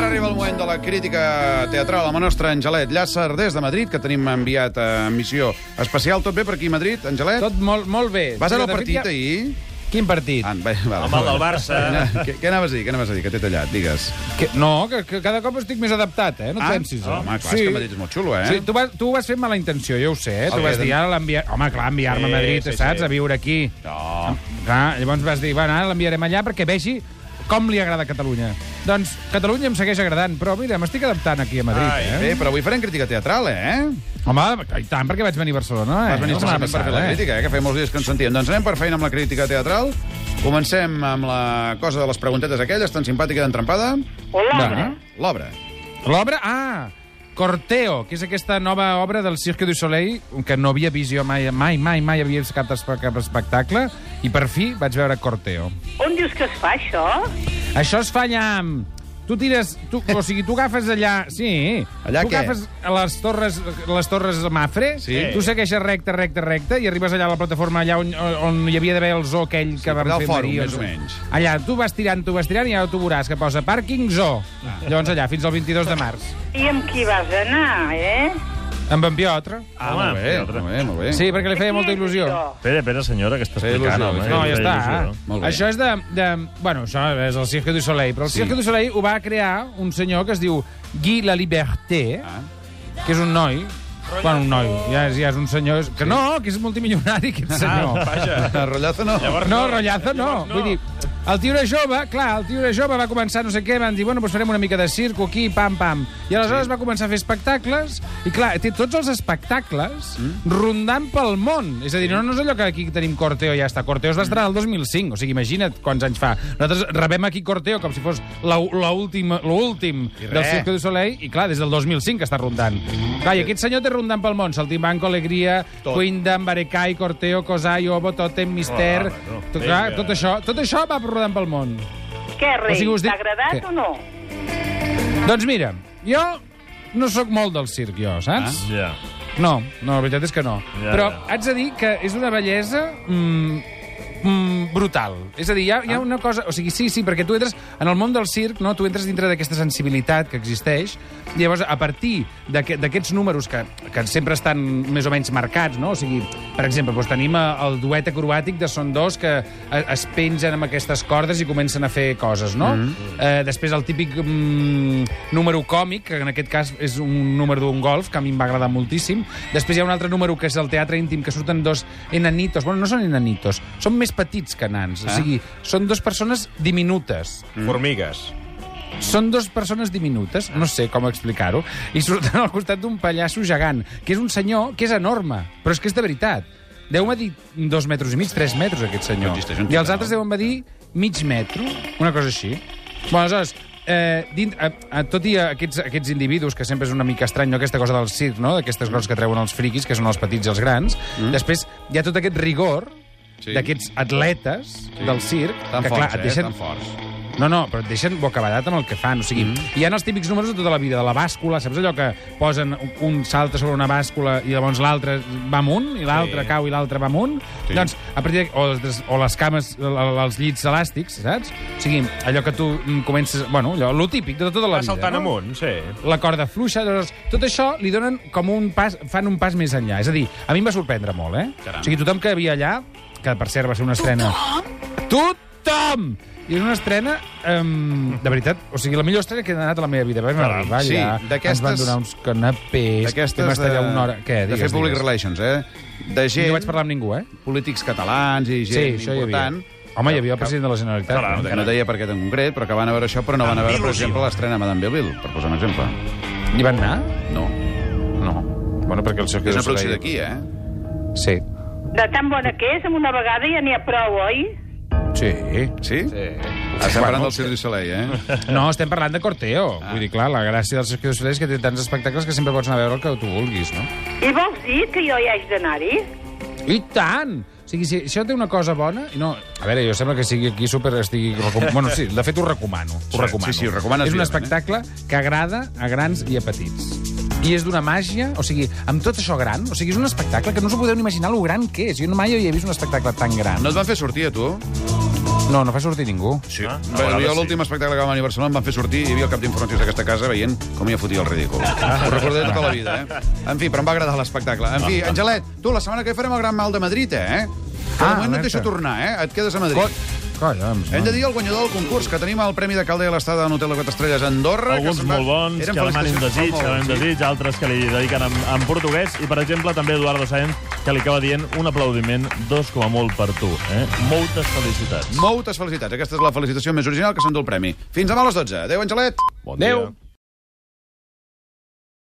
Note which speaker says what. Speaker 1: de la crítica teatral amb el nostre Angelet Llàcer des de Madrid, que tenim enviat a missió especial. Tot bé per aquí a Madrid, Angelet?
Speaker 2: Tot molt, molt bé.
Speaker 1: Vas anar al
Speaker 2: De fet,
Speaker 1: partit
Speaker 2: ja-
Speaker 1: ahir?
Speaker 2: Quin partit?
Speaker 1: Ah, va, va,
Speaker 3: Home, el del Barça.
Speaker 1: Què- Què, què anaves a dir? Què anaves a dir? Que t'he tallat, digues. Ah?
Speaker 2: Que, no, que, que cada cop estic més adaptat, eh? No et pensis. eh?
Speaker 1: Home, clar, sí. és que Madrid és molt xulo, eh?
Speaker 2: Sí, tu, vas, tu ho vas fer amb mala intenció, jo ho sé. Eh? Tu
Speaker 1: Ok,
Speaker 2: vas
Speaker 1: doncs-
Speaker 2: dir, ara l'enviar... Home, clar, enviar-me
Speaker 3: Sí,
Speaker 2: a Madrid,
Speaker 3: sí,
Speaker 2: saps?
Speaker 3: sí.
Speaker 2: A viure aquí.
Speaker 1: No.
Speaker 2: Clar, llavors vas dir, bueno, ara l'enviarem allà perquè vegi com li agrada Catalunya. Doncs Catalunya em segueix agradant, però mira, m'estic adaptant aquí a Madrid,
Speaker 3: Ai,
Speaker 2: eh?
Speaker 1: Bé, però avui farem crítica teatral, eh?
Speaker 2: Home, i tant, perquè vaig venir a Barcelona, eh?
Speaker 1: Vas venir
Speaker 2: La setmana
Speaker 1: especialment per fer
Speaker 2: passada,
Speaker 1: la
Speaker 2: eh?
Speaker 1: crítica, eh? que feia molts dies que ens sentíem. Doncs anem per feina amb la crítica teatral. Comencem amb la cosa de les preguntetes aquelles, tan simpàtica i d'entrempada.
Speaker 2: Hola.
Speaker 1: L'obra.
Speaker 2: L'obra... Ah, Corteo, que és aquesta nova obra del Cirque du Soleil, que no havia vist jo mai, mai, mai, mai havia vist cap, espe- cap espectacle, i per fi vaig veure Corteo.
Speaker 4: On dius que es fa, això?
Speaker 2: Això es fa allà amb... Tu tires... Tu, o sigui, tu agafes allà... Sí.
Speaker 1: Allà
Speaker 2: tu
Speaker 1: què?
Speaker 2: agafes les torres, les torres Mafre,
Speaker 1: Sí.
Speaker 2: tu segueixes recte, recte, recte, i arribes allà a la plataforma allà on, on hi havia d'haver el zoo aquell que vam
Speaker 1: allà al
Speaker 2: fer
Speaker 1: fòrum,
Speaker 2: Maria,
Speaker 1: més o
Speaker 2: no sé.
Speaker 1: menys.
Speaker 2: Allà, tu vas tirant, tu vas tirant, i ara tu veuràs que posa pàrquing zoo.
Speaker 1: Ah.
Speaker 2: Llavors allà, fins al 22 de març.
Speaker 4: I amb qui vas anar, eh?
Speaker 2: Amb en Piotre.
Speaker 3: Ah,
Speaker 1: molt bé,
Speaker 3: espera.
Speaker 1: molt bé, molt bé.
Speaker 2: Sí, perquè li feia
Speaker 4: Qui
Speaker 2: molta
Speaker 4: és
Speaker 2: il·lusió.
Speaker 4: això?
Speaker 3: Espera, espera, senyora, que està
Speaker 1: Feia
Speaker 3: explicant,
Speaker 1: il·lusió,
Speaker 3: home.
Speaker 1: feia
Speaker 2: No,
Speaker 3: que
Speaker 2: ja
Speaker 3: feia
Speaker 2: està. eh?
Speaker 3: il·lusió.
Speaker 1: Molt bé.
Speaker 2: Això és de, de... Bueno, això és el Cirque du Soleil, però el
Speaker 1: Sí.
Speaker 2: sí. Cirque du Soleil ho va crear un senyor que es diu Guy La Liberté,
Speaker 1: Ah.
Speaker 2: ah. que és un noi, Bueno, un noi, ja és, ja és un senyor... és- Que sí. no, que és multimilionari, aquest senyor.
Speaker 3: Vaja.
Speaker 1: Rotllazo no.
Speaker 3: Llavors
Speaker 2: No, rotllazo no.
Speaker 3: Llavors
Speaker 2: Vull dir, el tio era jove, clar, el tio era jove, va començar no sé què, van dir, bueno, doncs farem una mica de circo aquí, pam, pam. I aleshores sí. va començar a fer espectacles, i clar, té tots els espectacles mm. rondant pel món. És a dir, no, no és allò que aquí tenim Corteo i ja està. Corteo es va estrenar el 2005, o sigui, imagina't quants anys fa. Nosaltres rebem aquí Corteo com si fos la- l'última- l'últim
Speaker 1: I
Speaker 2: del
Speaker 1: res.
Speaker 2: Cirque du Soleil, i clar, des del 2005 que està rondant. Clar, i aquest senyor té rondant pel món, Saltimbanco, Alegria,
Speaker 1: Tot.
Speaker 2: Quindam, Barecai, Corteo, Cosai, Obo, Totem, Mister...
Speaker 3: Ah, bueno.
Speaker 2: Tot, clar,
Speaker 3: Vinga.
Speaker 2: tot això, tot això va rodant pel món.
Speaker 4: Què, rei?
Speaker 2: O sigui, us dic-
Speaker 4: T'ha agradat
Speaker 2: Què?
Speaker 4: o no?
Speaker 2: Doncs mira, jo no sóc molt del circ, jo, saps?
Speaker 3: Ja.
Speaker 2: No, no, la veritat és que no.
Speaker 3: Ah. Ja,
Speaker 2: Però
Speaker 3: ja.
Speaker 2: haig de dir que és d'una bellesa... Mm, mm, brutal. És a dir, hi ha, hi
Speaker 3: Ah.
Speaker 2: ha una cosa... O sigui, sí, sí, perquè tu entres en el món del circ, no? tu entres dintre d'aquesta sensibilitat que existeix, i llavors, a partir d'aque- d'aquests números que, que sempre estan més o menys marcats, no? o sigui, per exemple, doncs tenim eh, el duet acrobàtic de Son dos que eh, es pengen amb aquestes cordes i comencen a fer coses, no? Mm -hmm. eh, després el típic mm, número còmic, que en aquest cas és un número d'un golf, que a mi em va agradar moltíssim. Després hi ha un altre número que és el teatre íntim, que surten dos enanitos. Bueno, no són enanitos, són més petits que nans. Ah. O sigui, són dos persones diminutes.
Speaker 5: Formigues.
Speaker 2: Són dos persones diminutes, no sé com explicar-ho, i surten al costat d'un pallasso gegant, que és un senyor que és enorme, però és que és de veritat. Deu medir dos metres i mig, tres metres, aquest
Speaker 1: No
Speaker 2: senyor.
Speaker 1: existeix un
Speaker 2: I els
Speaker 1: tio,
Speaker 2: altres
Speaker 1: no?
Speaker 2: deuen medir mig metro, una cosa així. Bueno, aleshores, eh, dint, a, a, tot i a aquests, aquests individus, que sempre és una mica estrany, no, aquesta cosa del circ, no? d'aquestes coses que treuen els friquis, que són els petits i els grans, mm. després hi ha tot aquest rigor
Speaker 1: Sí.
Speaker 2: sí. d'aquests atletes sí. del circ,
Speaker 1: Tan
Speaker 2: que
Speaker 1: forts,
Speaker 2: clar, et deixen,
Speaker 1: eh? Tan forts.
Speaker 2: no, no, però et deixen bocabadat amb el que fan. O sigui, mm. hi ha els típics números de tota la vida, de la bàscula, saps allò que posen un- un salta sobre una bàscula i llavors l'altre va amunt, i l'altre sí. cau i l'altre va amunt?
Speaker 1: Sí.
Speaker 2: Doncs, a partir de, o, les, o les cames, el- els llits elàstics, saps? O sigui, allò que tu mm, comences... Bueno, allò, lo típic de tota la
Speaker 5: Va
Speaker 2: vida.
Speaker 5: saltant
Speaker 2: no?
Speaker 5: amunt,
Speaker 3: doncs.
Speaker 5: sí.
Speaker 2: la corda fluixa, llavors, tot això li donen com un pas, fan un pas més enllà. És a dir, a mi em va sorprendre molt, eh?
Speaker 1: Caram.
Speaker 2: O sigui, tothom que havia allà, que per cert va ser una estrena... Tothom! Tothom! I és una estrena, um, de veritat, o sigui, la millor estrena que he anat a la meva vida. Vam
Speaker 3: Caram.
Speaker 2: arribar
Speaker 1: Sí,
Speaker 2: allà, ens
Speaker 1: d'aquestes-
Speaker 2: van donar uns canapés, vam
Speaker 1: D'aquestes
Speaker 2: estar allà una hora... Què,
Speaker 1: de fer
Speaker 2: digues,
Speaker 1: public
Speaker 2: digues.
Speaker 1: relations, eh? De gent,
Speaker 2: No vaig parlar amb ningú, eh?
Speaker 1: polítics catalans i gent
Speaker 2: sí, això
Speaker 1: important...
Speaker 2: hi havia. Home, hi havia el president de la Generalitat.
Speaker 3: Caram,
Speaker 1: que no deia per què en concret, però que van a veure això, però no van a veure, per
Speaker 3: Il·lusió.
Speaker 1: exemple, l'estrena de Madame Belleville, per posar un exemple.
Speaker 2: Hi van anar?
Speaker 1: No.
Speaker 2: No. Bueno, perquè el circuit...
Speaker 1: És una producció d'aquí, eh?
Speaker 2: Sí.
Speaker 4: De tan bona que és, amb una vegada ja n'hi ha prou, oi?
Speaker 2: Sí.
Speaker 1: Sí?
Speaker 5: sí.
Speaker 1: Estem parlant del Cirque du Soleil, eh?
Speaker 2: No, estem parlant de Corteo. Ah. Vull dir, clar, la gràcia del Cirque du Soleil és que té tants espectacles que sempre pots anar a veure el que tu vulguis, no?
Speaker 4: I vols dir que jo hi haig d'anar-hi?
Speaker 2: I tant! O sigui, si això té una cosa bona... I no, a veure, jo sembla que sigui aquí super... Estigui, recom- bueno, sí, de fet ho recomano. Ho eh? recomano.
Speaker 1: sí, sí, ho recomanes
Speaker 2: És un
Speaker 1: vivament,
Speaker 2: espectacle que agrada a grans i a petits. I és d'una màgia, o sigui, amb tot això gran, o sigui, és un espectacle que no us ho podeu ni imaginar lo gran que és. Jo mai havia vist un espectacle tan gran.
Speaker 1: No et van fer sortir, a tu?
Speaker 2: No, no fa sortir ningú.
Speaker 1: Sí.
Speaker 3: Ah, a
Speaker 1: Bé, jo
Speaker 3: vegades
Speaker 1: l'últim espectacle que vam venir a Barcelona em van fer sortir i hi havia el cap d'informatius d'aquesta casa veient com hi fotia el ridícul. Ho recordaré tota la vida, eh? En fi, però em va agradar l'espectacle. En fi, Angelet, tu, la setmana que ve farem el Gran Mal de Madrid, eh? Que ah,
Speaker 2: Ah,
Speaker 1: de moment no et
Speaker 2: alerta.
Speaker 1: deixo tornar, eh? Et quedes a Madrid.
Speaker 2: Co- Collons,
Speaker 1: Hem de
Speaker 2: no.
Speaker 1: dir el guanyador del concurs, que tenim el Premi de Calder a l'estada en Hotel de 4 Estrelles a Andorra.
Speaker 3: Alguns
Speaker 1: que se'n va-
Speaker 3: molt bons,
Speaker 1: Eren
Speaker 3: que demanen
Speaker 1: felicitacions
Speaker 3: desig,
Speaker 1: molt
Speaker 3: que demanen
Speaker 1: bons, sí.
Speaker 3: desig, altres que li dediquen en, en portuguès, i per exemple també Eduardo Sáenz, que li acaba dient un aplaudiment, dos com a molt per tu. Eh? Moltes felicitats.
Speaker 1: Moltes felicitats. Aquesta és la felicitació més original que s'endú el premi. Fins demà a les 12. Adéu, Angelet.
Speaker 3: Bon
Speaker 5: Adéu.